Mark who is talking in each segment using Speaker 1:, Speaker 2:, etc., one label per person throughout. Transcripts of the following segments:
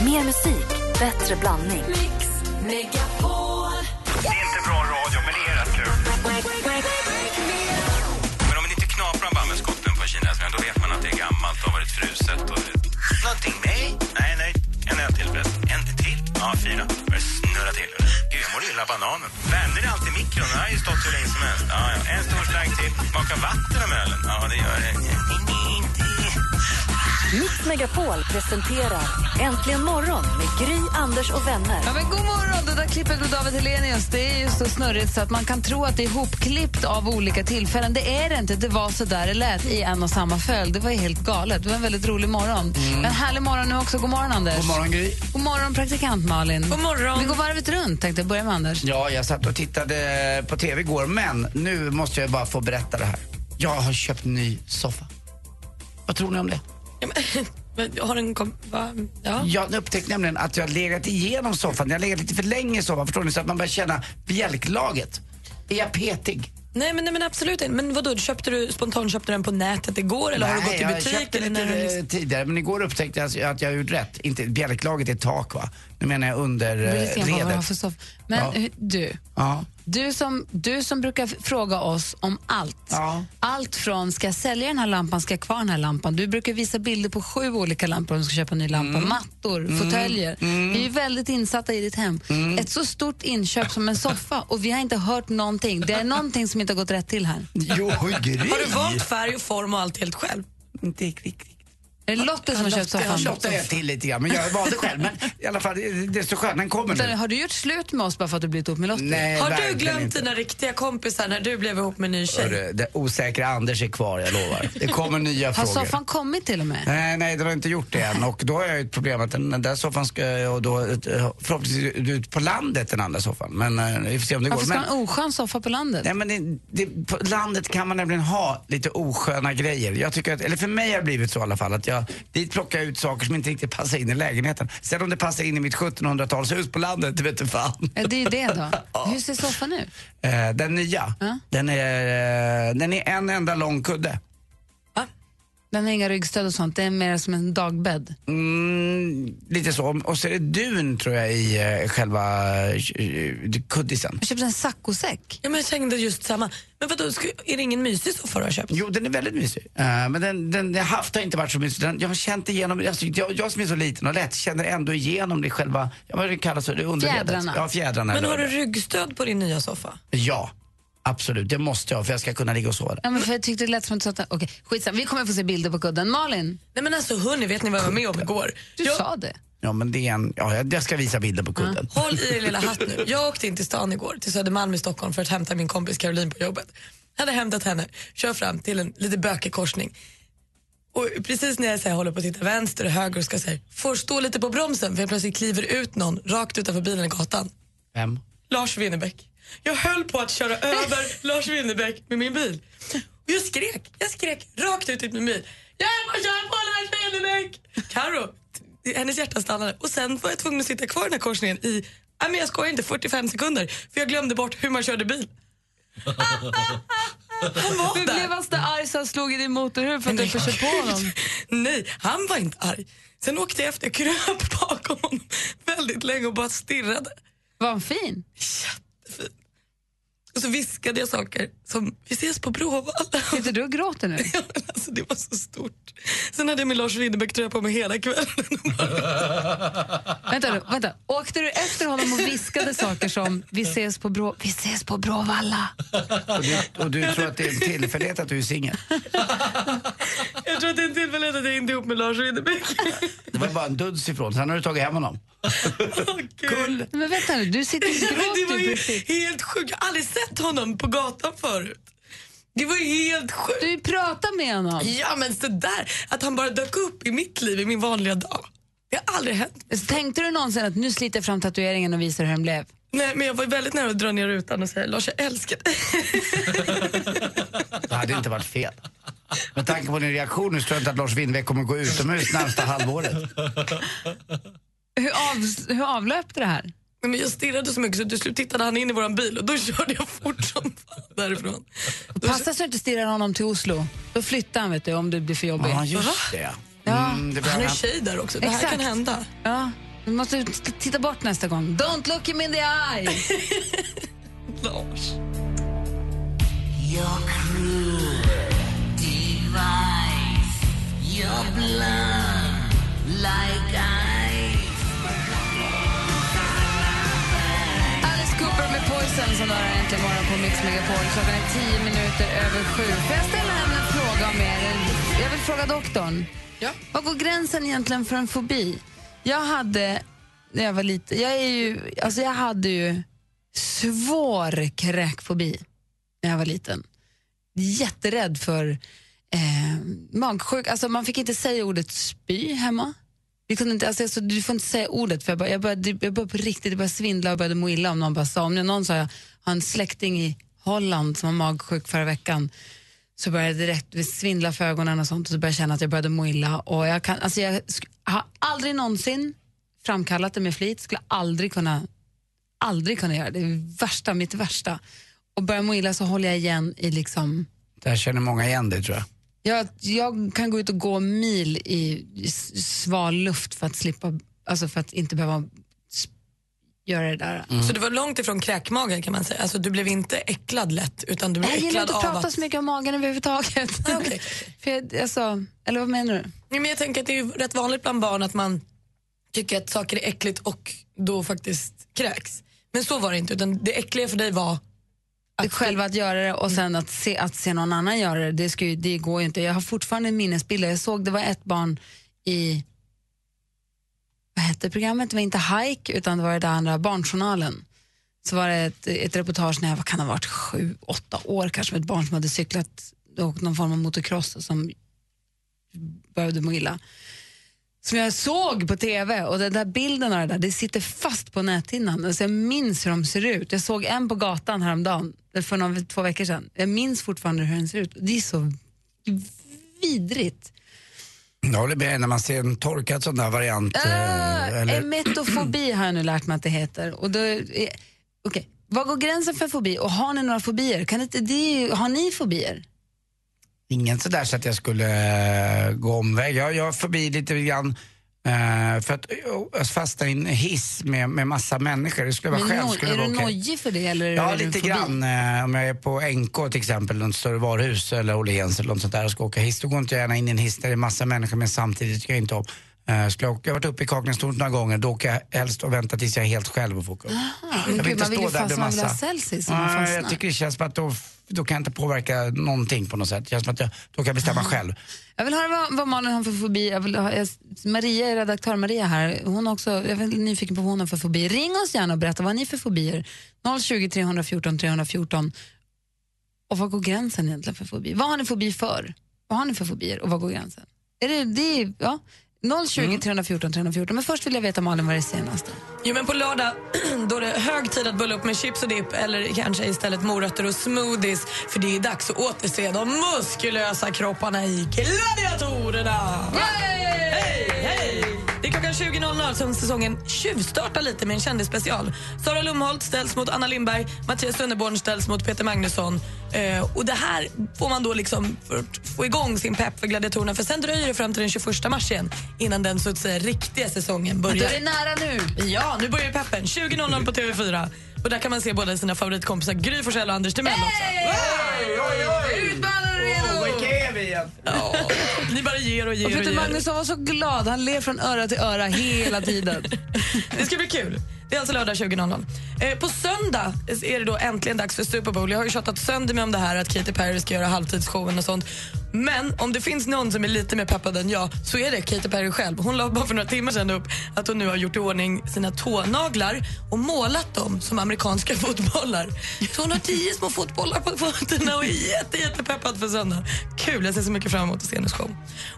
Speaker 1: Mer musik, bättre blandning.
Speaker 2: Mix Megapol.
Speaker 3: Det är inte bra radio, men det är rätt kul. Men om man inte knaprar bambuskotten på kinesiska, då vet man att det är gammalt och har varit fruset. Och... Någonting nej? Nej, nej. En öl till förresten. En till? Ja, fyra. Börjar snurra till. Gud, jag mår illa av bananen. Vänder det alltid i mikron? Den har ju stått hur länge som helst. Ja, ja. En stor slang till. Smaka vatten av ölen. Ja, det gör det.
Speaker 1: Mix Megapol presenterar Äntligen morgon med Gry, Anders och vänner.
Speaker 4: Ja, men god morgon! Det där klippet med David Helenius det är ju så snurrigt så att man kan tro att det är hopklippt av olika tillfällen. Det är det inte. Det var så där det lät i en och samma följd. Det var ju helt galet. Det var en väldigt rolig morgon. Men härlig morgon nu också. God morgon, Anders.
Speaker 5: Mm. God morgon, Gry.
Speaker 4: God morgon, praktikant Malin.
Speaker 2: God morgon.
Speaker 4: Vi går varvet runt, tänkte jag. Börja med Anders.
Speaker 5: Ja, jag satt och tittade på TV igår, men nu måste jag bara få berätta det här. Jag har köpt ny soffa. Vad tror ni om det?
Speaker 2: Ja, men- men Har den kom... Va? Ja.
Speaker 5: Jag upptäckte nämligen att jag har legat igenom soffan. Jag har legat lite för länge i soffan, förstår ni? Så att man börjar känna bjälklaget. Är jag petig?
Speaker 2: Nej, men, nej, men absolut inte. Men vadå, köpte du spontant köpte du den på nätet igår eller har du gått till
Speaker 5: jag
Speaker 2: butik?
Speaker 5: köpte
Speaker 2: Eller
Speaker 5: lite
Speaker 2: när du liksom...
Speaker 5: eh, tidigare, men igår upptäckte jag att jag har gjort rätt. Inte, bjälklaget är tak, va? Nu menar jag under
Speaker 4: Det är
Speaker 5: eh,
Speaker 4: lite grann vad man har
Speaker 5: ledet.
Speaker 4: för stoff. Men
Speaker 5: Ja.
Speaker 4: hur- du,
Speaker 5: Ja.
Speaker 4: du som, du som brukar f- fråga oss om allt.
Speaker 5: Ja.
Speaker 4: Allt från ska jag sälja den här lampan, ska jag ha kvar den här lampan. Du brukar visa bilder på sju olika lampor om du ska köpa en ny lampa.
Speaker 5: Mm.
Speaker 4: Mattor, fåtöljer. Vi är ju väldigt insatta i ditt hem.
Speaker 5: Mm.
Speaker 4: Ett så stort inköp som en soffa och vi har inte hört någonting. Det är någonting som inte har gått rätt till här.
Speaker 5: Jo, Gry!
Speaker 2: liksom- Har du valt färg och form och allt helt själv?
Speaker 5: Inte riktigt.
Speaker 4: Är det Lottie som har köpt
Speaker 5: Jag
Speaker 4: soffan?
Speaker 5: tjottade jag till lite grann, men jag valde själv. Men i alla fall, det- det är så skönt. Den kommer
Speaker 4: Utan,
Speaker 5: nu.
Speaker 4: Har du gjort slut med oss bara för att du blivit ihop med Lottie?
Speaker 5: Nej,
Speaker 2: Har du
Speaker 5: verkligen
Speaker 2: glömt
Speaker 5: inte.
Speaker 2: dina riktiga kompisar när du blev ihop med en ny tjej?
Speaker 5: Hörru, det osäkra Anders är kvar, jag lovar. Det kommer nya
Speaker 4: Har
Speaker 5: frågor.
Speaker 4: soffan kommit till och med?
Speaker 5: Nej, nej, den har inte gjort det än. Och då har jag ju ett problem att den den där soffan ska och då eh, förhoppningsvis ut på landet, den andra soffan. Men eh, vi får se om det går.
Speaker 4: Varför ska
Speaker 5: Men,
Speaker 4: ha en oskön soffa på landet?
Speaker 5: nej, men det, det, på landet kan man nämligen ha lite osköna grejer. Jag tycker att, eller för mig har det blivit så i alla fall, att jag dit plockar jag ut saker som inte riktigt passar in i lägenheten. Sen om det passar in i mitt 1700-talshus på landet, det vet du fan.
Speaker 4: Ja, det är ju det då. Hur ser soffan ut?
Speaker 5: Eh, den nya,
Speaker 4: Ja.
Speaker 5: den, är, eh, den är en enda lång kudde.
Speaker 2: Va?
Speaker 4: Den har inga ryggstöd och sånt. Det är mer som en dagbädd.
Speaker 5: Mm, lite så. Och så är det dun tror jag i eh, själva eh, kuddisen.
Speaker 4: Jag köpte en saccosäck.
Speaker 2: Ja, men jag tänkte just samma. Men vadå, ska, är det ingen mysig soffa du har köpt?
Speaker 5: Jo, den är väldigt mysig. Eh, men den, den jag haft har inte varit så mysig. Den, jag har känt igenom, alltså, jag, jag som är så liten och lätt känner ändå igenom det själva, ja, vad det kallas för, det underredet.
Speaker 4: Fjädrarna.
Speaker 5: Ja, fjädrarna.
Speaker 2: Men har du
Speaker 5: eller-
Speaker 2: ryggstöd på din nya soffa?
Speaker 5: Ja, absolut. Det måste jag för jag ska kunna ligga och sova där.
Speaker 4: Ja, men för jag tyckte det lät som att du sa att... Okej, skitsamma. Vi kommer få se bilder på kudden. Malin,
Speaker 2: Nej men alltså hörni, vet ni vad jag var med om igår?
Speaker 4: du
Speaker 2: Jag,
Speaker 4: sa det.
Speaker 5: Ja, men det är en, ja, jag, jag ska visa bilden på kudden.
Speaker 2: Håll i er lilla hatt nu. Jag åkte in till stan igår, till Södermalm i Stockholm för att hämta min kompis Caroline på jobbet. Jag hade hämtat henne, kör fram till en lite bökig korsning. Och precis när jag så här, håller på att titta vänster och höger och ska säga får stå lite på bromsen för jag plötsligt kliver ut någon rakt utanför bilen i gatan.
Speaker 5: Vem?
Speaker 2: Lars Winnerbäck. Jag höll på att köra över Lars Winnerbäck med min bil. Och jag skrek, jag skrek rakt ut i min bil. Jag höll på att köra på Lars Winnerbäck! Karo, t- hennes hjärta stannade och sen var jag tvungen att sitta kvar i den här korsningen i, nej men jag skojar inte, 45 sekunder. För jag glömde bort hur man körde bil. Han var
Speaker 4: Du
Speaker 2: där.
Speaker 4: blev alltså arg så han slog i din motorhuv för att du inte kör på honom.
Speaker 2: Nej, han var inte arg. Sen åkte jag efter, kröp bakom honom väldigt länge och bara stirrade.
Speaker 4: Var han fin?
Speaker 2: Och så viskade jag saker som, vi ses på Bråvalla.
Speaker 4: Sitter du och gråter nu?
Speaker 2: Ja, men alltså, det var så stort. Sen hade jag min Lars Winnerbäck-tröja på mig hela kvällen.
Speaker 4: Vänta, nu, vänta. Åkte du efter honom och viskade saker som vi ses på, Brå... vi ses på Bråvalla?
Speaker 5: Och du, och du tror att det är en tillfällighet att du är singel?
Speaker 2: Jag tror att det är en tillfällighet att jag inte är ihop med Lars Winnerbäck.
Speaker 5: Det var bara en duns ifrån, sen har du tagit hem honom.
Speaker 2: Åh, gud.
Speaker 5: Kull.
Speaker 4: Men vänta nu, du sitter och
Speaker 2: Ja, men Det
Speaker 4: gråter
Speaker 2: var
Speaker 4: ju
Speaker 2: ju
Speaker 4: precis.
Speaker 2: helt sjukt. Jag har aldrig sett honom på gatan förut. Det var ju helt sjukt.
Speaker 4: Du pratar med honom.
Speaker 2: Ja, men så där Att han bara dök upp i mitt liv, i min vanliga dag. Det har aldrig hänt.
Speaker 4: Så Alltså, tänkte du någonsin att nu sliter jag fram tatueringen och visar hur den blev?
Speaker 2: Nej, men jag var ju väldigt nära att dra ner rutan och säga Lars, jag älskar dig.
Speaker 5: Det hade inte varit fel. Med tanke på din reaktion nu så tror jag inte att Lars Winnerbäck kommer gå utomhus närmsta halvåret.
Speaker 4: Hur, av... hur avlöpte det här?
Speaker 2: Nej, Men jag stirrade så mycket så till slut tittade han in i våran bil och då körde jag fort som fan därifrån. Då
Speaker 4: Passa så att du inte stirrar honom till Oslo. Då flyttar han vet du, om du blir för jobbig.
Speaker 5: Ja, just det.
Speaker 4: Ja.
Speaker 5: Mm, det
Speaker 2: Han
Speaker 5: behöver
Speaker 2: är
Speaker 5: han.
Speaker 2: tjej där också. Det här
Speaker 4: Exakt.
Speaker 2: kan hända.
Speaker 4: Ja. Du måste ju t- titta bort nästa gång. Don't look him in the eye!
Speaker 2: Lars.
Speaker 4: Alice Cooper med Poison som du har äntligen morgon på Mix Megapol. Klockan är tio minuter över sju. Får jag ställa en fråga om er? Jag vill fråga doktorn.
Speaker 2: Ja.
Speaker 4: Vad går gränsen egentligen för en fobi? Jag hade, när jag var liten, jag är ju, alltså jag hade ju svår kräkfobi när jag var liten. Jätterädd för eh, magsjuk, alltså man fick inte säga ordet spy hemma. Vi kunde inte, alltså, jag sa, du får inte säga ordet för jag, bara, jag, började, jag började på riktigt jag började svindla och började må illa om någon bara sa, om någon sa jag har en släkting i Holland som var magsjuk förra veckan så började jag direkt svindla för ögonen och sånt och så började jag känna att jag började må illa. Och jag, kan, alltså jag sk- har aldrig någonsin framkallat det med flit, skulle aldrig kunna, aldrig kunna göra det. det är värsta, mitt värsta. Och börjar jag må illa så håller jag igen i liksom
Speaker 5: Där känner många igen dig tror jag.
Speaker 4: jag, jag kan gå ut och gå mil i s- sval luft för att slippa, alltså för att inte behöva sp- göra det där.
Speaker 2: Så Alltså, du var långt ifrån kräkmagen kan man säga. Alltså, du blev inte äcklad lätt utan du blev
Speaker 4: Jag gillar
Speaker 2: äcklad
Speaker 4: inte att
Speaker 2: av
Speaker 4: prata
Speaker 2: att...
Speaker 4: så mycket om magen överhuvudtaget.
Speaker 2: okej.
Speaker 4: för jag, alltså, eller vad menar du?
Speaker 2: Nej, men jag tänker att det är ju rätt vanligt bland barn att man tycker att saker är äckligt och då faktiskt kräks. Men så var det inte utan det äckliga för dig var
Speaker 4: Att själva att göra det och sen att se, att se någon annan göra det, det, ska ju, det går ju inte. Jag har fortfarande minnesbilder. Jag såg det var ett barn i, vad hette programmet? Det var inte Hike utan det var det där andra, Barnjournalen. Så var det ett, ett reportage när jag var, kan ha varit sju, åtta år kanske med ett barn som hade cyklat och åkt någon form av motocross och som började må illa. Som jag såg på tv och den där bilden av det där, det sitter fast på näthinnan. Alltså jag minns hur de ser ut. Jag såg en på gatan häromdagen, eller för någon, två veckor sedan. Jag minns fortfarande hur den ser ut. Det är så vidrigt.
Speaker 5: Jag håller med när man ser en torkad sån där variant. eh,
Speaker 4: Äh,
Speaker 5: eller,
Speaker 4: emetofobi har jag nu lärt mig att det heter. Och då, är- okej. Vad går gränsen för fobi? Och har ni några fobier? Kan inte, det är ju, har ni fobier?
Speaker 5: ingen sådär så att jag skulle eh, gå omväg. Jag, jag är förbi lite grann eh, för att eh, fastna i en hiss med, med massa människor. Det skulle jag
Speaker 4: Men
Speaker 5: själv
Speaker 4: no,
Speaker 5: skulle
Speaker 4: är
Speaker 5: vara
Speaker 4: du
Speaker 5: okej.
Speaker 4: nojig för det? Eller
Speaker 5: Ja,
Speaker 4: är det en
Speaker 5: lite
Speaker 4: fobi?
Speaker 5: grann. Eh, Om jag är på NK till exempel, något större varuhus eller Åhléns eller något sånt där och ska åka hiss, då går inte jag gärna in i en hiss där det är massa människor men samtidigt tycker jag inte om. Eh, Skulle jag, åka- jag har varit uppe i Kaknästornet några gånger, då åker jag helst och väntar tills jag är helt själv och får åka upp.
Speaker 4: Men
Speaker 5: Jag
Speaker 4: gud, man vill ju
Speaker 5: bland
Speaker 4: fastna, man vill ha Celsius om man
Speaker 5: Nej, jag
Speaker 4: fastnar.
Speaker 5: tycker det känns som att då, då kan jag inte påverka någonting på något sätt. Det känns som att jag, då kan jag
Speaker 4: Mm.
Speaker 5: bestämma själv.
Speaker 4: Jag vill höra vad, vad Malin har för fobi. Jag vill, ha- jag, Maria, är redaktör Maria här, hon har också, jag är väldigt nyfiken på vad hon har för fobi. Ring oss gärna och berätta vad har ni för fobier. 020 314 314. Och vad går gränsen egentligen för fobi? Vad har ni fobi för? Vad har ni för fobier och vad går gränsen? Är det, det är, ja. 020 314 314. Men först vill jag veta Malin vad det är senaste.
Speaker 2: Jo, men på lördag då är det hög tid att bulla upp med chips och dipp eller kanske istället morötter och smoothies för det är dags att återse de muskulösa kropparna i gladiatorerna. Hej, hej! Det är klockan 20.00 som säsongen tjuvstartar lite med en kändisspecial. Sara Lumholt ställs mot Anna Lindberg, Mattias Sunderborn ställs mot Peter Magnusson. Eh, och det här får man då liksom för att få igång sin pepp för gladiatorerna för sen dröjer det fram till den 21 mars igen innan den så att säga riktiga säsongen börjar.
Speaker 4: Då är det nära nu.
Speaker 2: Ja, nu börjar ju peppen. 20.00 på TV4. Och där kan man se båda sina favoritkompisar Gry Forssell och Anders Timell också. Ja. Ni bara ger och ger
Speaker 4: Och
Speaker 2: och,
Speaker 4: Peter
Speaker 2: ger.
Speaker 4: Magnusson var så glad, han ler från öra till öra hela tiden.
Speaker 2: Det ska bli kul. Det är alltså lördag 20.00. Eh, på söndag är det då äntligen dags för Super Bowl. Jag har ju tjatat sönder mig om det här att Katy Perry ska göra halvtidsshowen och sånt. Men om det finns någon som är lite mer peppad än jag så är det Katy Perry själv. Hon la bara för några timmar sedan upp att hon nu har gjort i ordning sina tånaglar och målat dem som amerikanska fotbollar. Så hon har tio små fotbollar på fötterna och är jätte, jättepeppad för söndag. Kul, jag ser så mycket fram emot att se hennes show.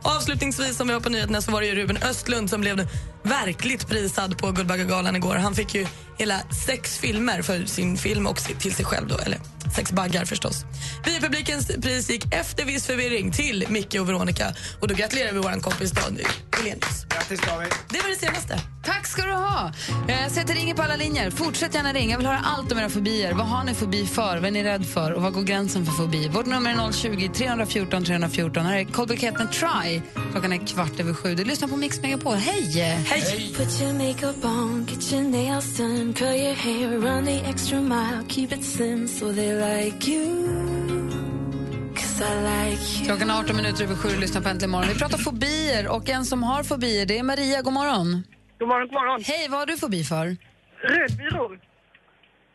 Speaker 2: Och avslutningsvis som vi har på nyheterna så var det ju Ruben Östlund som blev verkligt prisad på Guldbaggegalan igår. Han fick ju hela sex filmer för sin film och si- till sig själv då, eller sex baggar förstås. Biopublikens pris gick efter viss förvirring till Micke och Veronica och då gratulerar vi vår kompis Daniel Elenius.
Speaker 5: Grattis David!
Speaker 2: Det var det senaste.
Speaker 4: Tack ska ska du ha! Eh, Så att det ringer på alla linjer. Fortsätt gärna ringa. Jag vill höra allt om era fobier. Vad har ni fobi för? Vad är ni rädd för? Och vad går gränsen för fobi? Vårt nummer är 020 314 314. Här är Colby Cat med Try. Klockan är kvart över sju. Du lyssnar på Mix Megapol. Hej!
Speaker 6: Put your makeup on, get your nails done, curl your hair, run the extra mile, keep it slim so they like you. Cause I like you.
Speaker 4: Klockan är 18 minuter över sju. Lyssna på Äntligen morgon. Vi pratar fobier och en som har fobier det är Maria. God morgon!
Speaker 7: God morgon, god morgon.
Speaker 4: Hej, vad har du fobi för?
Speaker 7: Rödbyror.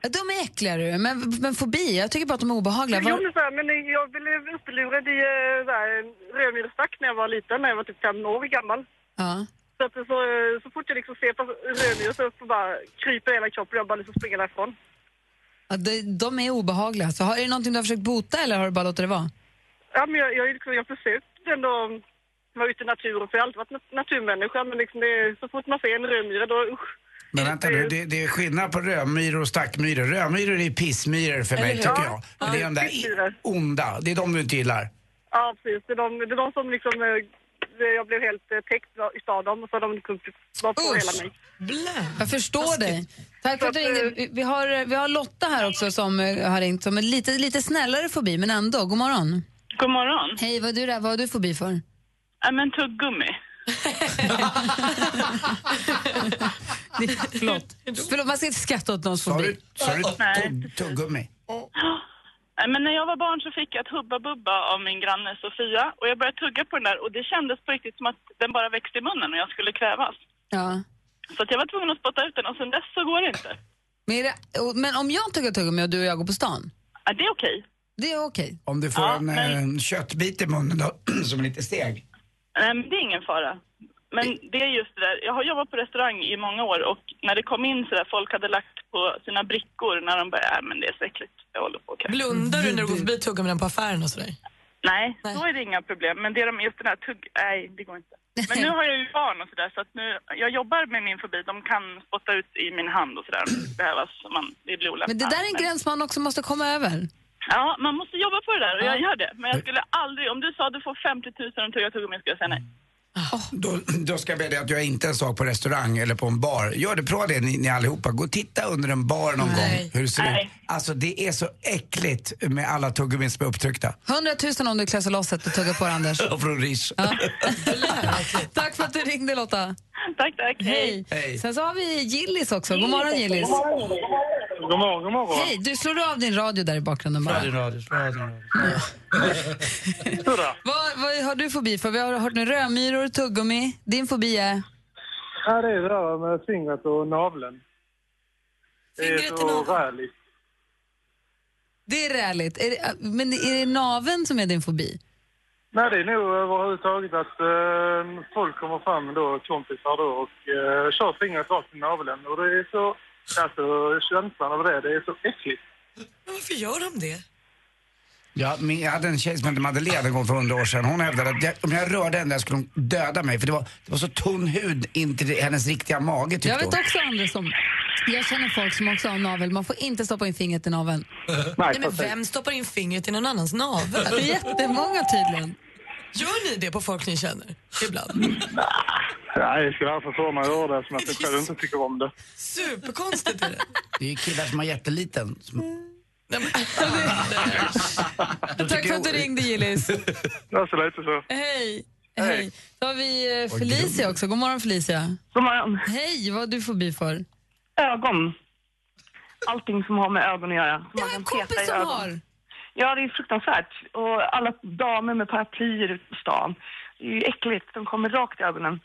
Speaker 4: Ja, De är äckliga du, men, men fobi, jag tycker bara att de är obehagliga.
Speaker 7: Jo,
Speaker 4: Var,
Speaker 7: men så här, men jag blev upplurad i eh, så här, en rödbyrstack när jag var liten, när jag var typ fem år gammal.
Speaker 4: ja.
Speaker 7: Så, att, så, eh, så fort jag liksom ser på rödbyror så får bara kryper hela kroppen och jag bara liksom springer därifrån.
Speaker 4: Ja, de, de är obehagliga. Så har, är det någonting du har försökt bota eller har du bara låtit det vara?
Speaker 7: Ja, men jag, jag, har ju liksom, jag har försökt ändå vara ute i naturen, för jag har alltid varit nat- naturmänniska, men liksom det, är- så fort man ser en rödmyra då usch.
Speaker 5: Men vänta nu, det, det är skillnad på rödmyror och stackmyror. Rödmyror är pissmyror för mig, tycker jag. Men det är de där i- onda, det är de du inte gillar.
Speaker 7: Ja, precis. Det är de, det är de som liksom... eh, Jag blev helt eh, täckt utav dem, så de liksom var på hela mig.
Speaker 2: Blä.
Speaker 4: Jag förstår dig. Tack för att du
Speaker 7: Så att,
Speaker 4: ringde. Vi- Vi har, vi har Lotta här också som eh, har ringt som är lite, lite snällare fobi, men ändå. God morgon.
Speaker 8: God morgon.
Speaker 4: Hej, vad är du, där? vad har du fobi för?
Speaker 8: Ja, men tuggummi.
Speaker 4: Förlåt. Förlåt, man ska inte skratta åt någons
Speaker 5: Sa
Speaker 4: fobi.
Speaker 5: du, sa du
Speaker 8: Nej.
Speaker 5: tugg, tuggummi?
Speaker 8: Ja, men när jag var barn så fick jag ett Hubba Bubba av min granne Sofia och jag började tugga på den där och det kändes på riktigt som att den bara växte i munnen och jag skulle kvävas.
Speaker 4: Ja.
Speaker 8: Så att jag var tvungen att spotta ut den och sen dess så går det inte.
Speaker 4: Men, är det, och- men om jag tuggar tuggummi och du och jag går på stan,
Speaker 8: Ja, det är okej.
Speaker 4: det är okej.
Speaker 5: Om du får
Speaker 8: Ja,
Speaker 5: en
Speaker 8: men-
Speaker 5: eh, köttbit i munnen då, som är lite steg.
Speaker 8: Nej, men det är ingen fara. Men det är just det där, jag har jobbat på restaurang i många år och när det kom in sådär, folk hade lagt på sina brickor när de började, äh, men det är så äckligt, jag håller på att kvävas.
Speaker 2: Blundar du när du
Speaker 5: Mm.
Speaker 2: går förbi tuggummin på affären och sådär?
Speaker 8: Nej, då är det inga problem. Men det är de, just den här tugg... Nej, det går inte. Men nu har jag ju barn och sådär så att nu, jag jobbar med min fobi. De kan spotta ut i min hand och sådär om det behövs. om Man, det blir olämpligt.
Speaker 4: Men det där är en gräns man också måste komma över.
Speaker 8: Ja, man måste jobba på det där och jag gör det. Men jag skulle aldrig, om du sa du får 50 000 om tugga tuggummi skulle jag säga nej.
Speaker 5: Då, då ska jag be dig att jag inte en sak på restaurang eller på en bar. Gör det, prova det ni, ni allihopa. Gå och titta under en bar någon gång hur det ser ut.
Speaker 8: Nej.
Speaker 5: Alltså det är så äckligt med alla tuggummin som är upptryckta.
Speaker 4: 100 000 om du klöser loss ett och tuggar på det, Anders.
Speaker 5: Och från Rish.
Speaker 4: Tack för att du ringde, Lotta.
Speaker 8: Tack, tack.
Speaker 4: Hej.
Speaker 5: Hej.
Speaker 4: Sen så har vi Gillis också. God morgon, Gillis.
Speaker 9: God morgon, god morgon.
Speaker 4: Hej, du slår du av din radio där i bakgrunden bara.
Speaker 9: Sådär.
Speaker 4: Vad, vad har du fobi för? Vi har hört nu rödmyror, tuggummi. Din fobi är?
Speaker 9: Här är det där med fingret och naveln. Det är
Speaker 2: Fingret och
Speaker 9: så
Speaker 2: naveln.
Speaker 9: räligt.
Speaker 4: Det är räligt. Är det, men är det naveln som är din fobi?
Speaker 9: Nej, det är nog överhuvudtaget att eh, folk kommer fram då, kompisar då, och eh, kör fingret rakt i naveln. Och det är så, alltså känslan av det, det är så äckligt.
Speaker 2: Men varför gör de det?
Speaker 5: Ja, men jag hade en tjej som hette Madeleine en gång för hundra år sedan. Hon hävdade att jag, om jag rörde henne där skulle hon döda mig. För det var, det var så tunn hud in till det- hennes riktiga mage tyckte
Speaker 4: Jag vet
Speaker 5: hon.
Speaker 4: också andra som... Jag känner folk som också har navel. Man får inte stoppa in fingret i naveln.
Speaker 2: Nej, men vem stoppar in fingret i någon annans navel?
Speaker 4: Det är jättemånga tydligen.
Speaker 2: Gör ni det på folk ni känner ibland?
Speaker 9: Nej, jag skulle aldrig förstå mig göra det som att jag själv inte tycker om det.
Speaker 2: Superkonstigt är det.
Speaker 5: Det är ju killar som har jätteliten. Som,
Speaker 2: Nej, men,
Speaker 4: Tack för att du ringde, Gillis.
Speaker 9: Det är så lite så.
Speaker 4: Hej. Hej. Då har vi eh, Felicia också. God morgon, Felicia.
Speaker 8: God morgon.
Speaker 4: Hej, vad har du fobi för?
Speaker 8: Ögon. Allting som har med ögon att göra.
Speaker 4: Det har jag en kompis som har.
Speaker 8: Ja, det är fruktansvärt. Och alla damer med paraplyer ute på stan. Det är ju äckligt. De kommer rakt i ögonen.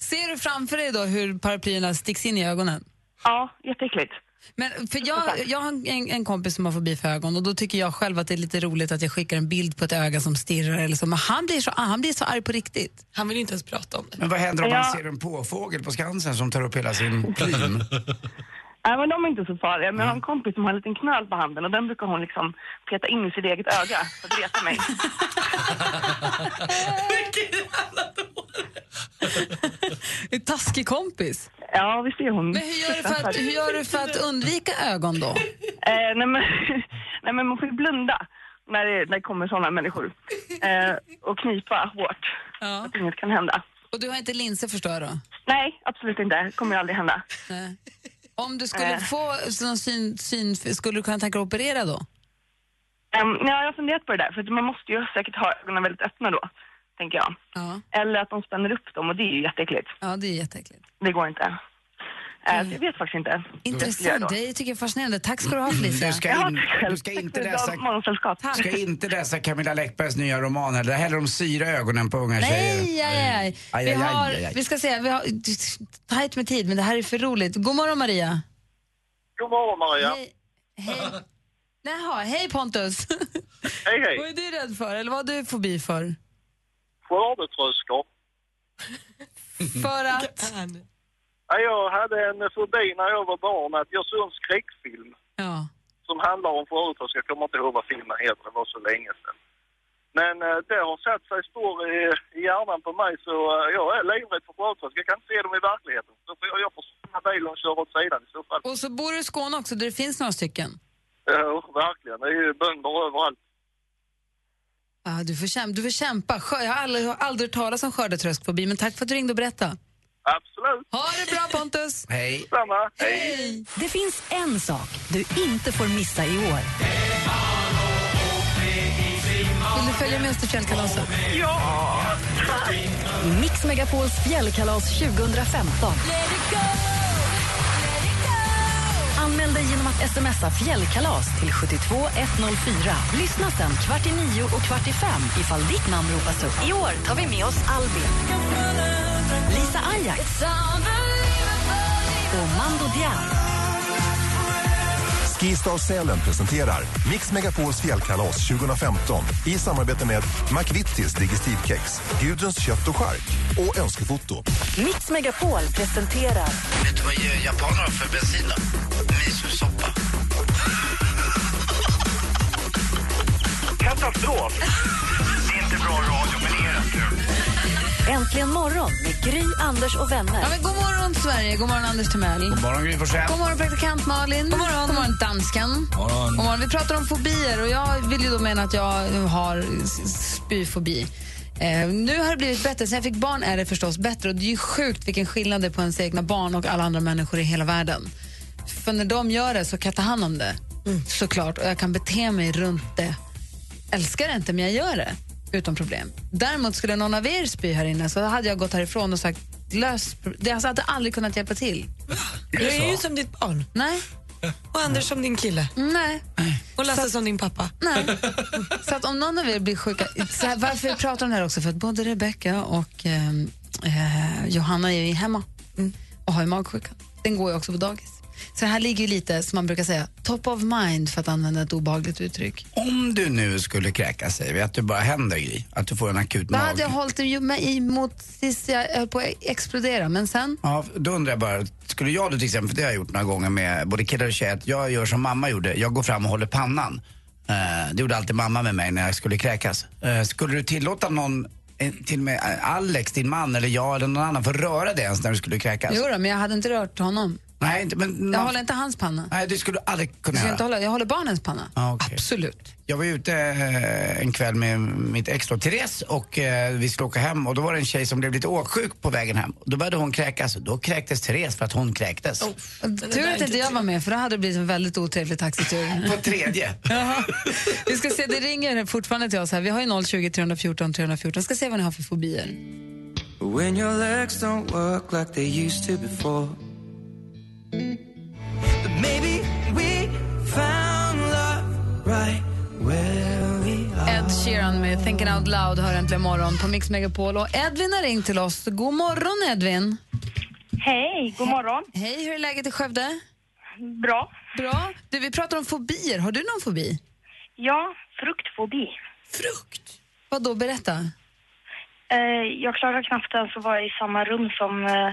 Speaker 4: Ser du framför dig då hur paraplyerna sticks in i ögonen?
Speaker 8: Ja, jätteäckligt.
Speaker 4: Men för jag, jag har en, en kompis som har fobi för ögon och då tycker jag själv att det är lite roligt att jag skickar en bild på ett öga som stirrar eller så, men han blir så, han blir så arg på riktigt.
Speaker 2: han vill inte ens prata om det.
Speaker 5: men vad händer om man
Speaker 8: Ja.
Speaker 5: ser en påfågel på Skansen som tar upp hela sin plym?
Speaker 8: Nej, men de är inte så farliga. Men jag har
Speaker 4: Mm.
Speaker 8: en kompis som har en liten knöl på handen och den brukar hon liksom peta in i sitt eget öga för att reta mig.
Speaker 4: En taskig kompis.
Speaker 8: Ja, visst är hon.
Speaker 4: Men hur gör, du för att, hur gör du för att undvika ögon då?
Speaker 8: Eh, nej, men, nej, men man får ju blunda när det, när det kommer sådana människor. Eh, och knipa hårt.
Speaker 4: Ja.
Speaker 8: Så att inget kan hända.
Speaker 4: Och du har inte linser förstår jag då?
Speaker 8: Nej, absolut inte. Det kommer ju aldrig hända. Eh.
Speaker 4: Nej. Om du skulle få någon syn, syn, skulle du kunna tänka dig att operera då?
Speaker 8: Um, ja, jag har funderat på det där, för att man måste ju säkert ha ögonen väldigt öppna då, tänker jag.
Speaker 4: Ja,
Speaker 8: Eller att de spänner upp dem och det är ju jätteäckligt.
Speaker 4: ja det är jätteäckligt. Mm.
Speaker 8: Det går inte. Eh, så jag vet faktiskt inte.
Speaker 4: Intressant, det tycker jag är fascinerande. Tack ska du ha Felicia.
Speaker 5: Du ska, in, du ska inte läsa...
Speaker 8: Morgonsällskap.
Speaker 5: Du ska inte läsa Camilla Läckbergs nya roman heller. Hellre de syra ögonen på unga tjejer.
Speaker 4: Nej, aj, aj.
Speaker 5: Aj, aj,
Speaker 4: Vi,
Speaker 5: aj,
Speaker 4: har,
Speaker 5: aj, aj.
Speaker 4: vi ska se, vi har tajt med tid men det här är för roligt. God morgon Maria.
Speaker 9: God morgon Maria.
Speaker 4: Hej. Hej. Jaha, hej Pontus.
Speaker 9: Hej hej.
Speaker 4: vad är du rädd för eller vad har du fobi för?
Speaker 9: Skördetröskor.
Speaker 4: För att?
Speaker 9: Ja, Jag hade en fobi när jag var barn att jag såg en skräckfilm
Speaker 4: Ja.
Speaker 9: som handlar om företag. Jag kommer inte ihåg vad filmen heter, det var så länge sedan. Men eh, det har satt sig spår i, i hjärnan på mig så eh, jag är livrädd för företag. Jag kan inte se dem i verkligheten. Så får jag, jag får stanna bilen och köra åt sidan i så fall.
Speaker 4: Och så bor du i Skåne också där det finns några stycken.
Speaker 9: Ja, verkligen. Det är ju bönder överallt.
Speaker 4: Ah, du, får kämpa, du får kämpa. Skö- Jag har aldrig, jag har aldrig hört talas om skördetröskfobi men tack för att du ringde och berättade.
Speaker 9: Absolut.
Speaker 4: Ha det bra Pontus!
Speaker 5: Hej.
Speaker 9: Samma.
Speaker 1: Det finns en sak du inte får missa i år.
Speaker 4: Vill du följa med oss till fjällkalaset?
Speaker 1: Mix Megapols fjällkalas 2015. Anmäl dig genom att smsa fjällkalas till 72104. Lyssna sen kvart i nio och kvart i fem ifall ditt namn ropas upp. I år tar vi med oss Albin, Lisa Ajax och Mando Diao.
Speaker 10: Skistar Sälen presenterar Mix Megapols fjällkalas 2015 i samarbete med McVittys Digestivkex, Gudruns kött och skark och Önskefoto.
Speaker 1: Mix Megapol presenterar
Speaker 5: Vet du vad japaner har för bensin då? Misosoppa.
Speaker 9: Katastrof.
Speaker 3: Det är inte bra radio, men det är rätt kul.
Speaker 1: Äntligen morgon med Gry, Anders och vänner.
Speaker 4: Ja, men god morgon Sverige, god morgon Anders Timell.
Speaker 5: God morgon Gry Forssell.
Speaker 4: God morgon, praktikant Malin. God morgon, God morgon dansken. God morgon. Vi pratar om fobier och jag vill ju då mena att jag har s- spyfobi. Eh, nu har det blivit bättre. Sen jag fick barn är det förstås bättre. Och Det är ju sjukt vilken skillnad det är på ens egna barn och alla andra människor i hela världen. För när de gör det så kan jag ta hand om det, såklart. Och jag kan bete mig runt det. Älskar det inte, men jag gör det utan problem. Däremot skulle någon av er spy här inne så hade jag gått härifrån och sagt lös... pro- Det alltså, hade jag aldrig kunnat hjälpa till.
Speaker 2: Du är ju som ditt barn.
Speaker 4: Nej.
Speaker 2: Och Anders som din kille.
Speaker 4: Nej.
Speaker 2: Och Lasse som din pappa.
Speaker 4: Nej. Så att om någon av er blir sjuka... Så här, varför jag pratar om det här också? För att både Rebecca och ehm, eh, Johanna är ju hemma mm, och har ju magsjuka. Den går ju också på dagis. Så det här ligger ju lite, som man brukar säga, top of mind för att använda ett obehagligt uttryck.
Speaker 5: Om du nu skulle kräkas, säger vi, att du bara händer Gry, att du får en akut
Speaker 4: Då hade jag
Speaker 5: mag.
Speaker 4: hållit ju mig emot tills jag höll på att explodera, men sen...
Speaker 5: Ja, då undrar jag bara, skulle jag då till exempel, för det har jag gjort några gånger med både killar och tjejer, att jag gör som mamma gjorde, jag går fram och håller pannan. Eh, det gjorde alltid mamma med mig när jag skulle kräkas. Eh, skulle du tillåta någon, eh, till och med eh, Alex, din man eller jag eller någon annan, för att röra dig ens när du skulle kräkas?
Speaker 4: Jo då, men jag hade inte rört honom.
Speaker 5: Nej, inte, men...
Speaker 4: Jag
Speaker 5: man-
Speaker 4: håller inte hans panna.
Speaker 5: Nej, det skulle du aldrig kunna
Speaker 4: Jag, ska
Speaker 5: göra.
Speaker 4: inte hålla, jag håller barnens panna.
Speaker 5: Ja, okej.
Speaker 4: Absolut.
Speaker 5: Jag var ute eh, en kväll med mitt ex då, Therese och eh, vi skulle åka hem och då var det en tjej som blev lite åksjuk på vägen hem. Då började hon kräkas och då kräktes Therese för att hon kräktes.
Speaker 4: Tur att inte jag var med, för då hade det blivit en väldigt otrevlig taxitur.
Speaker 5: På tredje.
Speaker 4: Jaha. Vi ska se, det ringer fortfarande till oss här. Vi har ju 020 314 314. Vi ska se vad ni har för fobier.
Speaker 11: When your legs don't work like they used to before. But maybe we found love right where we are.
Speaker 4: Ed Sheeran med Thinking Out Loud hör äntligen morgon på Mix Megapol. Och Edvin har ringt till oss. God morgon Edvin.
Speaker 8: Hej, god morgon.
Speaker 4: Hej, hur är läget i Skövde?
Speaker 8: Bra.
Speaker 4: Bra. Du, vi pratar om fobier. Har du någon fobi?
Speaker 8: Ja, fruktfobi.
Speaker 2: Frukt.
Speaker 4: Vad då berätta.
Speaker 8: Eh, jag klarar knappt ens
Speaker 12: alltså,
Speaker 8: att vara i samma rum som eh,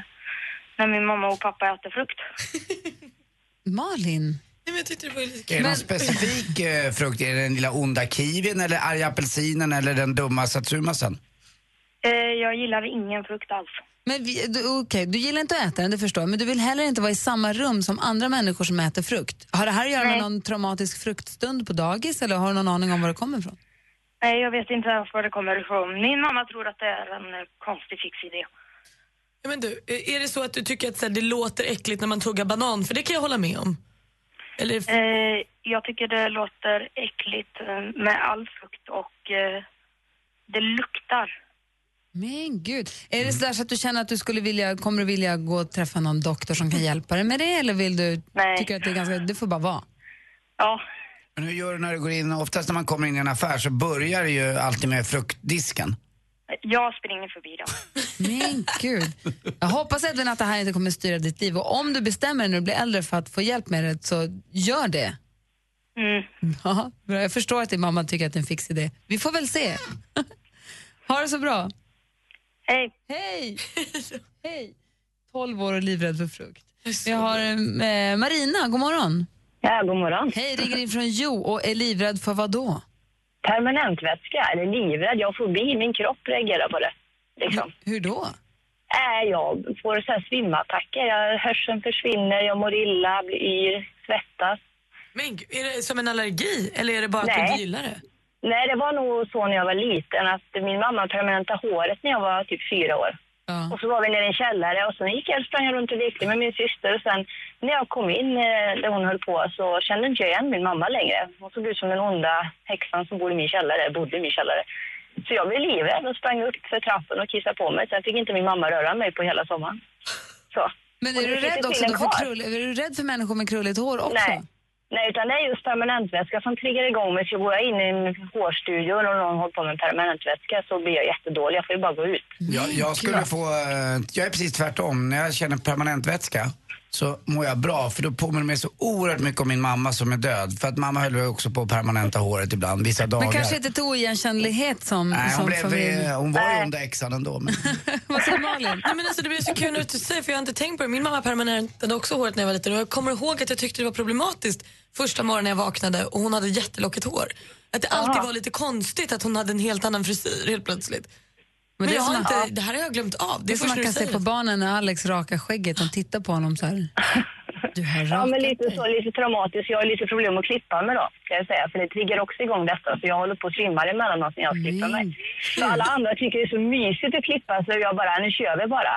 Speaker 8: när min mamma och pappa äter frukt.
Speaker 4: Malin?
Speaker 2: Nej, men jag tyckte det var lite
Speaker 5: Är
Speaker 2: kul.
Speaker 5: det någon
Speaker 4: Men-
Speaker 5: specifik eh, frukt? Är det den lilla onda kiwin eller arga apelsinen eller den dumma satsumasen?
Speaker 8: Eh, jag gillar ingen frukt alls.
Speaker 4: Men vi, du, okej, du gillar inte att äta den, det förstår jag. Men du vill heller inte vara i samma rum som andra människor som äter frukt. Har det här att göra med
Speaker 8: Nej.
Speaker 4: någon traumatisk fruktstund på dagis eller har du någon aning om var det kommer ifrån?
Speaker 8: Nej, jag vet inte ens var det kommer ifrån. Min mamma tror att det är en eh, konstig fix idé.
Speaker 2: Ja, men du, är det så att du tycker att så här, det låter äckligt när man tuggar banan? För det kan jag hålla med om. Eller,
Speaker 13: Eh, jag tycker det låter äckligt eh, med all frukt och eh, det luktar.
Speaker 4: Men gud. Är det så, där så att du känner att du skulle vilja, kommer du vilja gå och träffa någon doktor som kan hjälpa dig med det eller vill du,
Speaker 13: Nej.
Speaker 4: tycker du att det är ganska, det får bara vara?
Speaker 13: Ja.
Speaker 5: Men hur gör du när du går in? Oftast när man kommer in i en affär så börjar det ju alltid med fruktdisken.
Speaker 13: Jag springer förbi dem.
Speaker 4: Men gud. Jag hoppas Edvin att det här inte kommer styra ditt liv och om du bestämmer dig när du blir äldre för att få hjälp med det så gör det. Ja, Mm. bra. jag förstår att din mamma tycker att det är en fix idé. Vi får väl se. ha det så bra.
Speaker 13: Hej.
Speaker 4: Hej. Hej. 12 år och livrädd för frukt. Vi har eh, Marina, god morgon.
Speaker 14: Ja, god morgon.
Speaker 4: Hej, ringer in från Jo och är livrädd för vad då?
Speaker 14: Permanentvätska, eller livrädd. Jag får bi, min kropp reagerar på det. Liksom.
Speaker 4: Hur, då?
Speaker 14: Äh, jag får så här svimmatacker. Jag, hörseln försvinner, jag mår illa, blir yr, svettas.
Speaker 2: men gud, är det som en allergi eller är det bara att du
Speaker 14: Nej.
Speaker 2: inte gillar det?
Speaker 14: Nej, det var nog så när jag var liten att min mamma permanentade håret när jag var typ fyra år. Och så var vi nere i en källare och sen gick jag och sprang runt och lekte med min syster och sen när jag kom in eh, där hon höll på så kände inte jag igen min mamma längre. Hon såg ut som den onda häxan som bor i min källare, bodde i min källare. Så jag blev livrädd och sprang upp för trappen och kissade på mig. Sen fick inte min mamma röra mig på hela sommaren. Så.
Speaker 4: Men
Speaker 14: Och
Speaker 4: är
Speaker 14: det
Speaker 4: du,
Speaker 14: sitter
Speaker 4: rädd också
Speaker 14: stilen
Speaker 4: då för
Speaker 14: kvar.
Speaker 4: krull, är du rädd för människor med krulligt hår också?
Speaker 14: Nej. Nej, utan det är just permanentvätska som triggar igång mig. Så går jag in i en hårstudio och någon håller på med permanentvätska så blir jag jättedålig. Jag får ju bara gå ut.
Speaker 5: Jag, jag skulle få... eh, Jag är precis tvärtom. När jag känner permanent vätska så mår jag bra för då påminner mig så oerhört mycket om min mamma som är död. För att mamma höll ju också på att permanenta håret ibland, vissa dagar.
Speaker 4: Men kanske inte till oigenkännlighet som,
Speaker 5: Nej, hon,
Speaker 4: som
Speaker 5: blev,
Speaker 4: familj.
Speaker 5: eh, hon var ju onda häxan ändå. Men...
Speaker 4: Vad säger Malin?
Speaker 2: Nej, men alltså, det blir så kul att du säger för jag har inte tänkt på det. Min mamma permanentade också håret när jag var liten och jag kommer ihåg att jag tyckte det var problematiskt första morgonen jag vaknade och hon hade jättelockigt hår. Att det alltid
Speaker 4: Aha.
Speaker 2: var lite konstigt att hon hade en helt annan frisyr helt plötsligt. Men,
Speaker 4: det är
Speaker 2: jag
Speaker 4: som
Speaker 2: har
Speaker 4: man-
Speaker 2: inte,
Speaker 4: Ja.
Speaker 2: det här har jag glömt av.
Speaker 4: Det
Speaker 2: Det
Speaker 4: är
Speaker 2: är
Speaker 4: som
Speaker 2: först när
Speaker 4: man
Speaker 2: du
Speaker 4: kan se
Speaker 2: säger
Speaker 4: på
Speaker 2: det.
Speaker 4: barnen när Alex rakar skägget. De tittar på honom så här. Du har
Speaker 14: Ja, men
Speaker 4: rakat
Speaker 14: lite så, lite traumatiskt. Jag har lite problem att klippa mig då, kan jag säga. För det triggar också igång detta. Så jag håller på att svimma emellanåt när jag klipper mig. Så alla andra tycker det är så mysigt att klippa sig och jag bara, nu kör vi bara.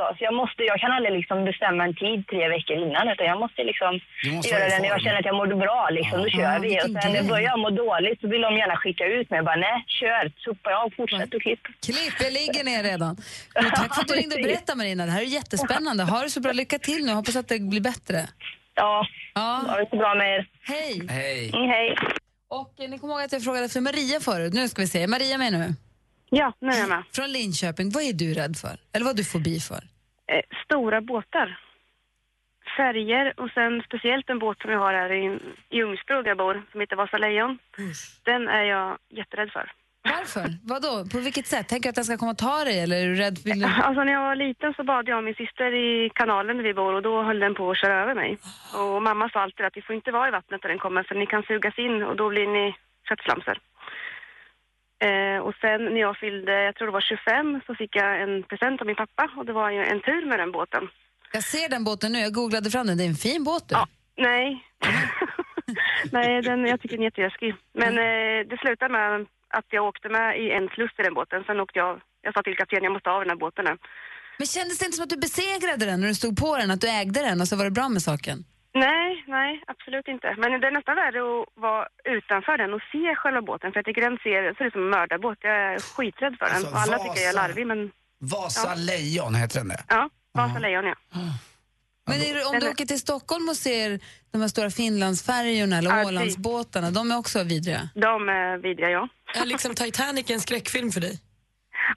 Speaker 14: Så, så jag, måste, jag kan aldrig liksom bestämma en tid tre veckor innan utan jag måste liksom
Speaker 13: måste
Speaker 14: göra
Speaker 13: vara i
Speaker 14: det när jag
Speaker 13: form.
Speaker 14: känner att jag mår bra liksom. Då
Speaker 13: Ja.
Speaker 14: kör
Speaker 13: Ja,
Speaker 14: vi.
Speaker 13: vilken
Speaker 14: Och sen när jag
Speaker 13: grej.
Speaker 14: börjar må dåligt så vill de gärna skicka ut mig. Jag bara, nej, kör, sopa av, fortsätt och klipp.
Speaker 4: Klipp, jag ligger ner redan. Men tack för att du ringde och berättade Marina. Det här är jättespännande. Ha det så bra. Lycka till nu. Hoppas att det blir bättre.
Speaker 14: Ja,
Speaker 4: ja.
Speaker 14: ha det så bra med er.
Speaker 4: Hej.
Speaker 5: Hej.
Speaker 14: hej.
Speaker 4: Och eh, ni kommer ihåg att jag frågade efter Maria förut. Nu ska vi se. Är Maria med nu?
Speaker 12: Ja, nu är jag med.
Speaker 4: Från Linköping. Vad är du rädd för? Eller vad har du fobi för?
Speaker 12: Eh, stora båtar. Färger och sen speciellt en båt som jag har här i, i Ljungsbro där jag bor, som heter Vasa Lejon. Den är jag jätterädd för.
Speaker 4: Varför? Vadå? På vilket sätt? Tänker du att den ska komma och ta dig eller är du rädd? Vill du...
Speaker 12: Alltså när jag var liten så bad jag min syster i kanalen där vi bor och då höll den på att köra över mig. Och mamma sa alltid att ni får inte vara i vattnet när den kommer för ni kan sugas in och då blir ni köttslamsor. Eh, och sen när jag fyllde, jag tror det var 25, så fick jag en present av min pappa och det var ju en tur med den båten.
Speaker 4: Jag ser den båten nu. Jag googlade fram den. Det är en fin båt du.
Speaker 12: Nej. Nej, den, jag tycker den är jätteläskig. Men eh, det slutade med att jag åkte med i en sluss i den båten. Sen åkte jag, jag sa till kaptenen jag måste av den här båten nu.
Speaker 4: Men kändes det inte som att du besegrade den när du stod på den? Att du ägde den och så var det bra med saken?
Speaker 12: Nej, nej, absolut inte. Men det är nästan värre att vara utanför den och se själva båten. För jag tycker den ser, ser ut som en mördarbåt. Jag är skiträdd för den.
Speaker 5: Alltså,
Speaker 12: och alla tycker jag är
Speaker 5: Vasa.
Speaker 12: larvig, men...
Speaker 5: Vasa
Speaker 12: Ja.
Speaker 5: Lejon heter den det.
Speaker 12: Ja, Vasa Lejon, ja.
Speaker 4: Men är, det- om du
Speaker 12: Den-
Speaker 4: åker till Stockholm och ser de här stora Finlandsfärjorna eller
Speaker 12: Ja, precis.
Speaker 4: Ålandsbåtarna, de är också vidriga.
Speaker 12: De är vidriga, ja.
Speaker 2: Är liksom Titanic en skräckfilm för dig?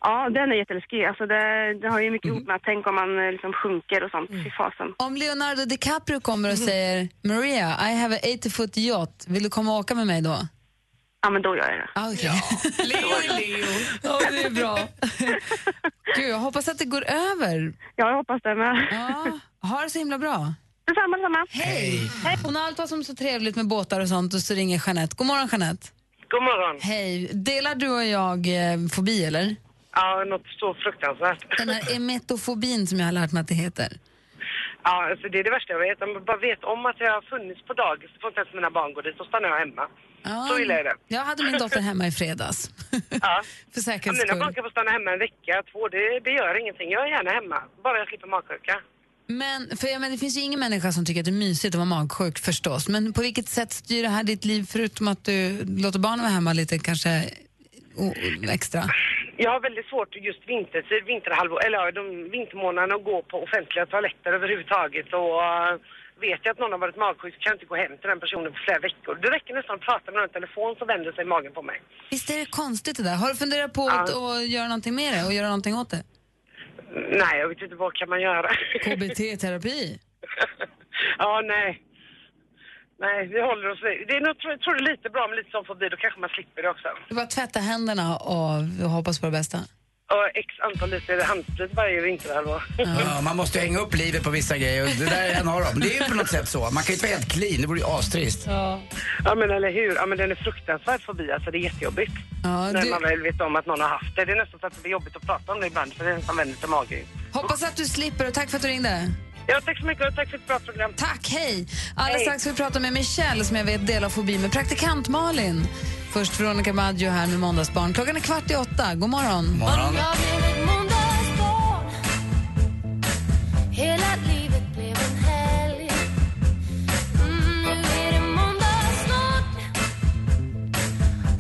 Speaker 12: Ja, den är jätteläskig. Alltså, det, det har ju
Speaker 2: Mm.
Speaker 12: mycket ihop med att tänk om man eh, liksom sjunker och sånt. Fy fasen.
Speaker 4: Om Leonardo DiCaprio kommer och
Speaker 12: Mhm.
Speaker 4: säger Maria, I have a 80 foot yacht, vill du komma och åka med mig då?
Speaker 12: Ja, men då gör jag det.
Speaker 4: Ah, okay.
Speaker 2: Leo är Leo.
Speaker 4: Ja, det är bra. Gud, jag hoppas att det går över.
Speaker 12: Ja, jag hoppas det med.
Speaker 4: Ja, ha det så himla bra.
Speaker 12: Detsamma, detsamma.
Speaker 4: Hej. Hon har allt vad som är så trevligt med båtar och sånt och så ringer Jeanette. God morgon Jeanette.
Speaker 15: God morgon.
Speaker 4: Hej. Delar du och jag eh, fobi eller?
Speaker 15: Ja, något så fruktansvärt.
Speaker 4: Den här emetofobin som jag har lärt mig att det heter.
Speaker 15: Ja, alltså det är det värsta jag vet. Om jag bara vet om att jag har funnits på dagis så får inte ens mina barn gå dit. Då stannar jag hemma.
Speaker 4: Ja,
Speaker 15: Så illa är det.
Speaker 4: Jag hade min dotter hemma i fredags.
Speaker 15: Ja.
Speaker 4: För
Speaker 15: Ja,
Speaker 4: säkerhets
Speaker 15: mina
Speaker 4: skull.
Speaker 15: barn kan få stanna hemma en vecka, två. Det, det gör ingenting. Jag är gärna hemma. Bara jag slipper magsjuka.
Speaker 4: Men, för jag menar, det finns ju ingen människa som tycker att det är mysigt att vara magsjuk förstås. Men på vilket sätt styr det här ditt liv förutom att du låter barnen vara hemma lite kanske o- o- extra?
Speaker 15: Jag har väldigt svårt just vintertid, vinterhalvår, eller ja, de vintermånaderna att gå på offentliga toaletter överhuvudtaget. Och eh, vet jag att någon har varit magsjuk så kan jag inte gå hem till den personen på flera veckor. Det räcker nästan att prata med någon i telefon så vänder sig magen på mig.
Speaker 4: Visst är det konstigt det där? Har du funderat på
Speaker 15: Ja.
Speaker 4: att att göra någonting med det och göra någonting åt det?
Speaker 15: Nej, jag vet inte vad kan man göra.
Speaker 4: KBT-terapi?
Speaker 15: ja, nej. Nej, vi håller oss... Det är nog, tror jag tror det är lite bra med lite sån fobi, då kanske man slipper det också.
Speaker 4: Du bara tvätta händerna och och hoppas på det bästa.
Speaker 15: Och x antal liter handsprit varje vinterhalvår.
Speaker 5: Ja, man måste ju hänga upp livet på vissa grejer och det där är en av dem. Det är ju på något sätt så. Man kan ju inte vara helt clean, det vore ju astrist.
Speaker 4: Ja.
Speaker 15: ja, men eller hur. Ja, men den är fruktansvärd fobi, alltså det är jättejobbigt.
Speaker 4: Ja,
Speaker 15: När
Speaker 4: du-
Speaker 15: man väl vet om att någon har haft det. Det är nästan så att det blir jobbigt att prata om det ibland, för det är nästan vänder till magen.
Speaker 4: Hoppas att du slipper och tack för att du ringde.
Speaker 15: Ja, tack så mycket och tack för ett bra program.
Speaker 4: Tack, hej! Alldeles strax ska vi prata med Michelle som jag vet delar fobi med praktikant Malin. Först Veronica Maggio här med Måndagsbarn. Klockan är kvart i åtta. God morgon.
Speaker 5: morgon.
Speaker 11: Jag blev ett måndagsbarn Hela livet blev en helg mm, Nu är det måndag snart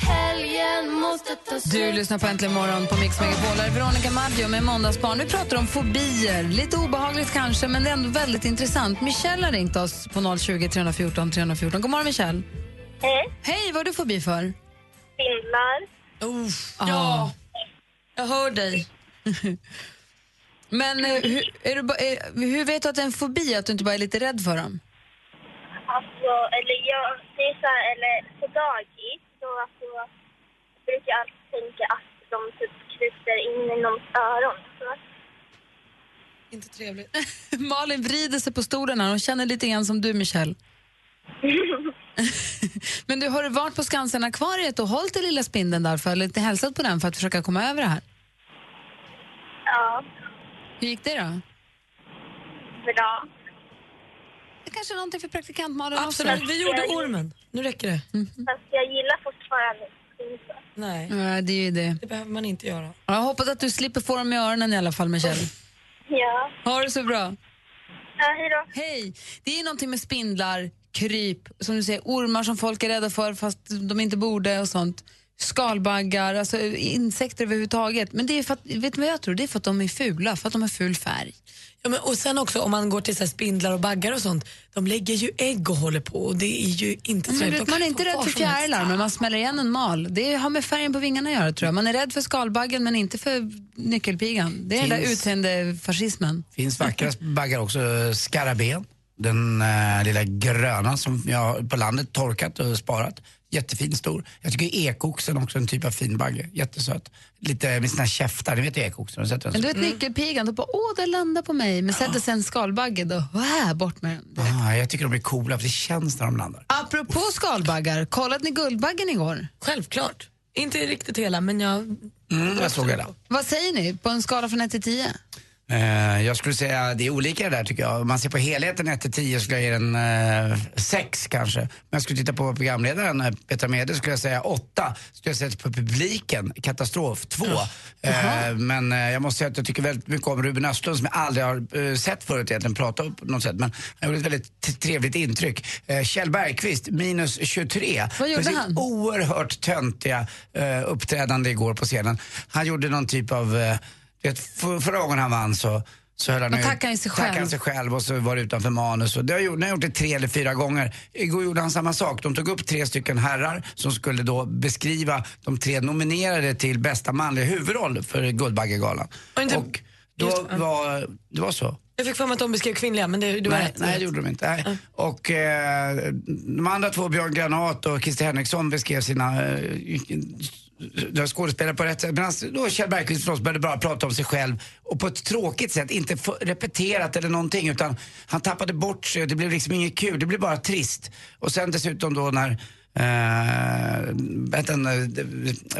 Speaker 11: Helgen måste ta slut
Speaker 4: Du lyssnar på Äntligen morgon på Mix Megapol. Här är Veronica Maggio med Måndagsbarn. Vi pratar om fobier. Lite obehagligt kanske, men det är ändå väldigt intressant. Michelle har ringt oss på 020 314 314. God morgon, Michelle.
Speaker 16: Hej.
Speaker 4: Hej, vad har du fobi för?
Speaker 16: Spindlar.
Speaker 4: ja. Jag hör dig. men eh, hur, är du, ba- är, hur vet du att det är en fobi, att du inte bara är lite rädd för dem?
Speaker 16: Alltså, eller jag, det är så här, eller på dagis så alltså, brukar jag alltid tänka att de typ kryper in i någons öron. Så.
Speaker 4: Inte trevligt. Malin vrider sig på stolen här. Hon känner lite grann som du, Michelle. Men du, har du varit på Skansen-akvariet och hållit i lilla spindeln där för, eller inte hälsat på den för att försöka komma över det här?
Speaker 16: Ja,
Speaker 4: Hur gick det då?
Speaker 16: bra.
Speaker 4: Det kanske är någonting för praktikant Malin
Speaker 2: Absolut, vi gjorde ormen. Nu räcker det.
Speaker 4: Mm.
Speaker 16: Fast jag gillar fortfarande spindlar.
Speaker 2: Nej,
Speaker 4: Ja, det är ju det.
Speaker 2: det behöver man inte göra.
Speaker 4: Ja, Jag hoppas att du slipper få dem i öronen i alla fall, Michelle.
Speaker 16: Ja.
Speaker 4: Ha det så bra.
Speaker 16: Ja, hej då.
Speaker 4: Hej! Det är ju någonting med spindlar, kryp, som du säger, ormar som folk är rädda för fast de inte borde och sånt. Skalbaggar, alltså insekter överhuvudtaget. Men det är för att, vet du vad jag tror? Det är för att de är fula, för att de har ful färg.
Speaker 2: Ja, men, och sen också om man går till så här, spindlar och baggar och sånt, de lägger ju ägg och håller på och det är ju inte
Speaker 4: Men, du
Speaker 2: trevligt.
Speaker 4: vet,
Speaker 2: Alltså, De
Speaker 4: man är
Speaker 2: kan
Speaker 4: inte
Speaker 2: få
Speaker 4: rädd
Speaker 2: var
Speaker 4: för
Speaker 2: som helst.
Speaker 4: fjärilar, men man smäller igen en mal. Det har med färgen på vingarna att göra tror jag. Man är rädd för skalbaggen men inte för nyckelpigan. Det är den där
Speaker 5: Finns-
Speaker 4: utseendefascismen.
Speaker 5: Finns vackra baggar också, eh, skarabén. Den eh, lilla gröna som jag har på landet torkat och sparat. Jättefin stor. Jag tycker ekoxen också är en typ av fin bagge. Jättesöt. Lite med sina käftar, ni vet ju ekoxen. har du sett den?
Speaker 4: Men du vet
Speaker 2: Mm.
Speaker 4: nyckelpigan, då bara åh den landar på mig. Men sätter sig en skalbagge, då wow, bort med den.
Speaker 5: Ah, jag tycker de är coola för det känns när de landar.
Speaker 4: Apropå skalbaggar, kollade ni Guldbaggen igår?
Speaker 2: Självklart. Inte riktigt hela, men jag...
Speaker 5: Mm, jag såg det där.
Speaker 4: Vad säger ni på en skala från 1 till 10?
Speaker 5: Eh, jag skulle säga det är olika det där tycker jag. Om man ser på helheten 1 till 10 skulle jag ge den eh, 6 kanske. Men jag skulle titta på programledaren eh, Petra Mede skulle jag säga 8. Skulle jag säga på publiken, katastrof, 2. Eh, men eh, jag måste säga att jag tycker väldigt mycket om Ruben Östlund som jag aldrig har eh, sett förut egentligen prata på något sätt. Men han gjorde ett väldigt t- trevligt intryck. Eh, Kjell Bergqvist, minus 23.
Speaker 4: Vad gjorde
Speaker 5: För sitt
Speaker 4: han?
Speaker 5: oerhört töntiga eh, uppträdande igår på scenen. Han gjorde någon typ av, eh, du vet, för, förra gången han vann så så höll han
Speaker 4: Då
Speaker 5: ut-
Speaker 4: tackade han sig
Speaker 5: tackade
Speaker 4: själv.
Speaker 5: han sig själv och så var det utanför manus. Och det har gjort, nu har jag gjort det tre eller fyra gånger. Igår gjorde han samma sak. De tog upp tre stycken herrar som skulle då beskriva de tre nominerade till bästa manliga huvudroll för Guldbaggegalan. Och, då var, det var så?
Speaker 2: Jag fick för mig att de beskrev kvinnliga, men det, du har
Speaker 5: nej,
Speaker 2: rätt.
Speaker 5: nej, det gjorde de inte. Nej. Och eh, de andra två, Björn Granat och Christer Henriksson, beskrev sina eh, de skådespelare på rätt sätt. Medan då Kjell Bergqvist förstås började bara prata om sig själv och på ett tråkigt sätt, inte f- repeterat eller någonting utan han tappade bort sig och det blev liksom inget kul, det blev bara trist. Och sen dessutom då när Eh, vet den, eh,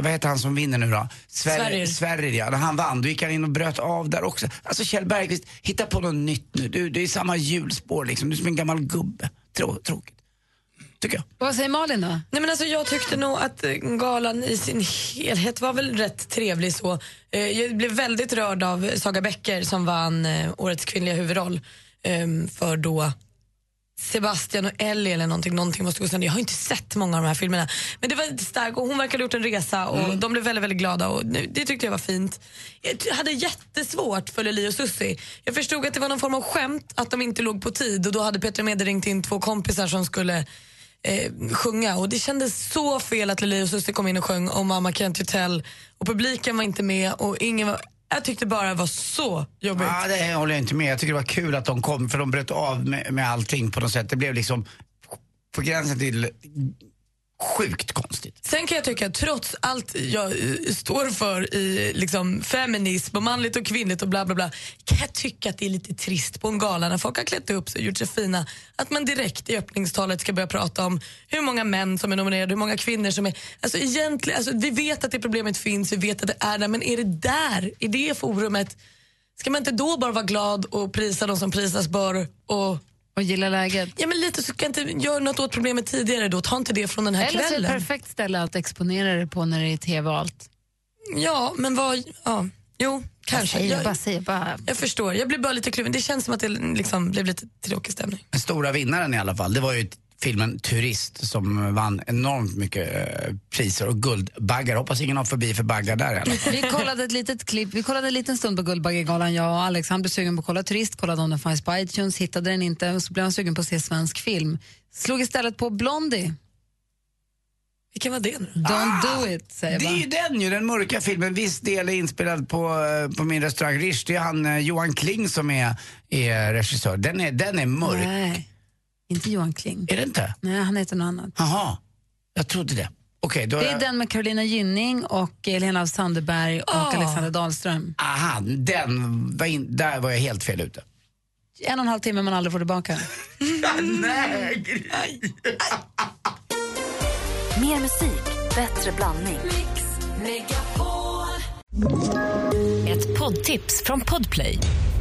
Speaker 5: vad heter han som vinner nu då?
Speaker 2: Sverrir.
Speaker 5: Sverrir. Sverrir ja. När han vann, då gick han in och bröt av där också. Alltså Kjell Bergqvist, hitta på något nytt nu. Du, det är samma hjulspår liksom. Du är som en gammal gubbe. Trå, tråkigt. Tycker jag.
Speaker 4: Vad säger Malin då?
Speaker 2: Nej, men alltså, jag tyckte nog att eh, galan i sin helhet var väl rätt trevlig så. Eh, Jag blev väldigt rörd av Saga Bäcker som vann eh, årets kvinnliga huvudroll ehm, för då Sebastian och Ellie eller någonting, någonting måste gå sönder. Jag har inte sett många av de här filmerna. Men det var lite starkt och hon verkar ha gjort en resa och de blev väldigt, väldigt glada och nu- det tyckte jag var fint. Jag ty- hade jättesvårt för Lili och Susi. Jag förstod att det var någon form av skämt att de inte låg på tid och då hade Petra Mede ringt in två kompisar som skulle eh, sjunga och det kändes så fel att Lili och Susie kom in och sjöng om Mamma Can't You Tell och publiken var inte med och ingen var... Jag tyckte bara det var så jobbigt.
Speaker 5: Ja, det håller jag inte med. Jag tycker det var kul att de kom för de bröt av med, med allting på något sätt. Det blev liksom på gränsen till sjukt konstigt.
Speaker 2: Sen kan jag tycka att trots allt jag eh, står för i liksom feminism och manligt och kvinnligt och bla bla bla kan jag tycka att det är lite trist på en gala när folk har klätt upp sig och gjort sig fina att man direkt i öppningstalet ska börja prata om hur många män som är nominerade, hur många kvinnor som är... Alltså egentligen, alltså vi vet att det problemet finns, vi vet att det är där, men är det där, i det forumet, ska man inte då bara vara glad och prisa de som prisas bör och
Speaker 4: och gilla läget.
Speaker 2: Ja men lite så kan jag inte göra något åt problemet tidigare då, ta inte det från den här
Speaker 4: Eller så är det
Speaker 2: kvällen.
Speaker 4: ett perfekt ställe att exponera dig på när det är tv och allt.
Speaker 2: Ja, men vad... Ja. Jo, kanske.
Speaker 4: säger,
Speaker 2: Jag,
Speaker 4: bara säger, bara...
Speaker 2: jag förstår. Jag blev bara lite kluven. Det känns som att det liksom blev lite tråkig stämning.
Speaker 5: Den stora vinnaren i alla fall, det var ju t- filmen Turist som vann enormt mycket eh, priser och guldbaggar. Hoppas ingen har förbi för baggar där i alla fall.
Speaker 4: Vi kollade ett litet klipp, vi kollade en liten stund på Guldbaggegalan, jag och Alex. Han blev sugen på att kolla Turist, kollade om den fanns på iTunes, hittade den inte och så blev han sugen på att se svensk film. Slog istället på Blondie.
Speaker 2: Vilken var det nu
Speaker 4: Don't do it, säger
Speaker 5: Ah! Det är ju
Speaker 4: man.
Speaker 5: den ju, den mörka filmen. Viss del är inspelad på, eh, på min restaurang Rish. Det är han eh, Johan Kling som är, är regissör. Den är, den är mörk.
Speaker 4: Nej, inte Johan Kling.
Speaker 5: Är det inte?
Speaker 4: Nej, han heter något annat.
Speaker 5: Jaha, jag trodde det. Okej, då har
Speaker 4: Det är
Speaker 5: jag-
Speaker 4: den med Carolina Gynning och Helena av Sandeberg och
Speaker 5: Ah.
Speaker 4: Alexander Dahlström.
Speaker 5: Aha, den var in, där var jag helt fel ute.
Speaker 4: En och en halv timme man aldrig får tillbaka.
Speaker 5: Nej,
Speaker 1: Mer musik, bättre blandning.
Speaker 17: Ett poddtips från Podplay.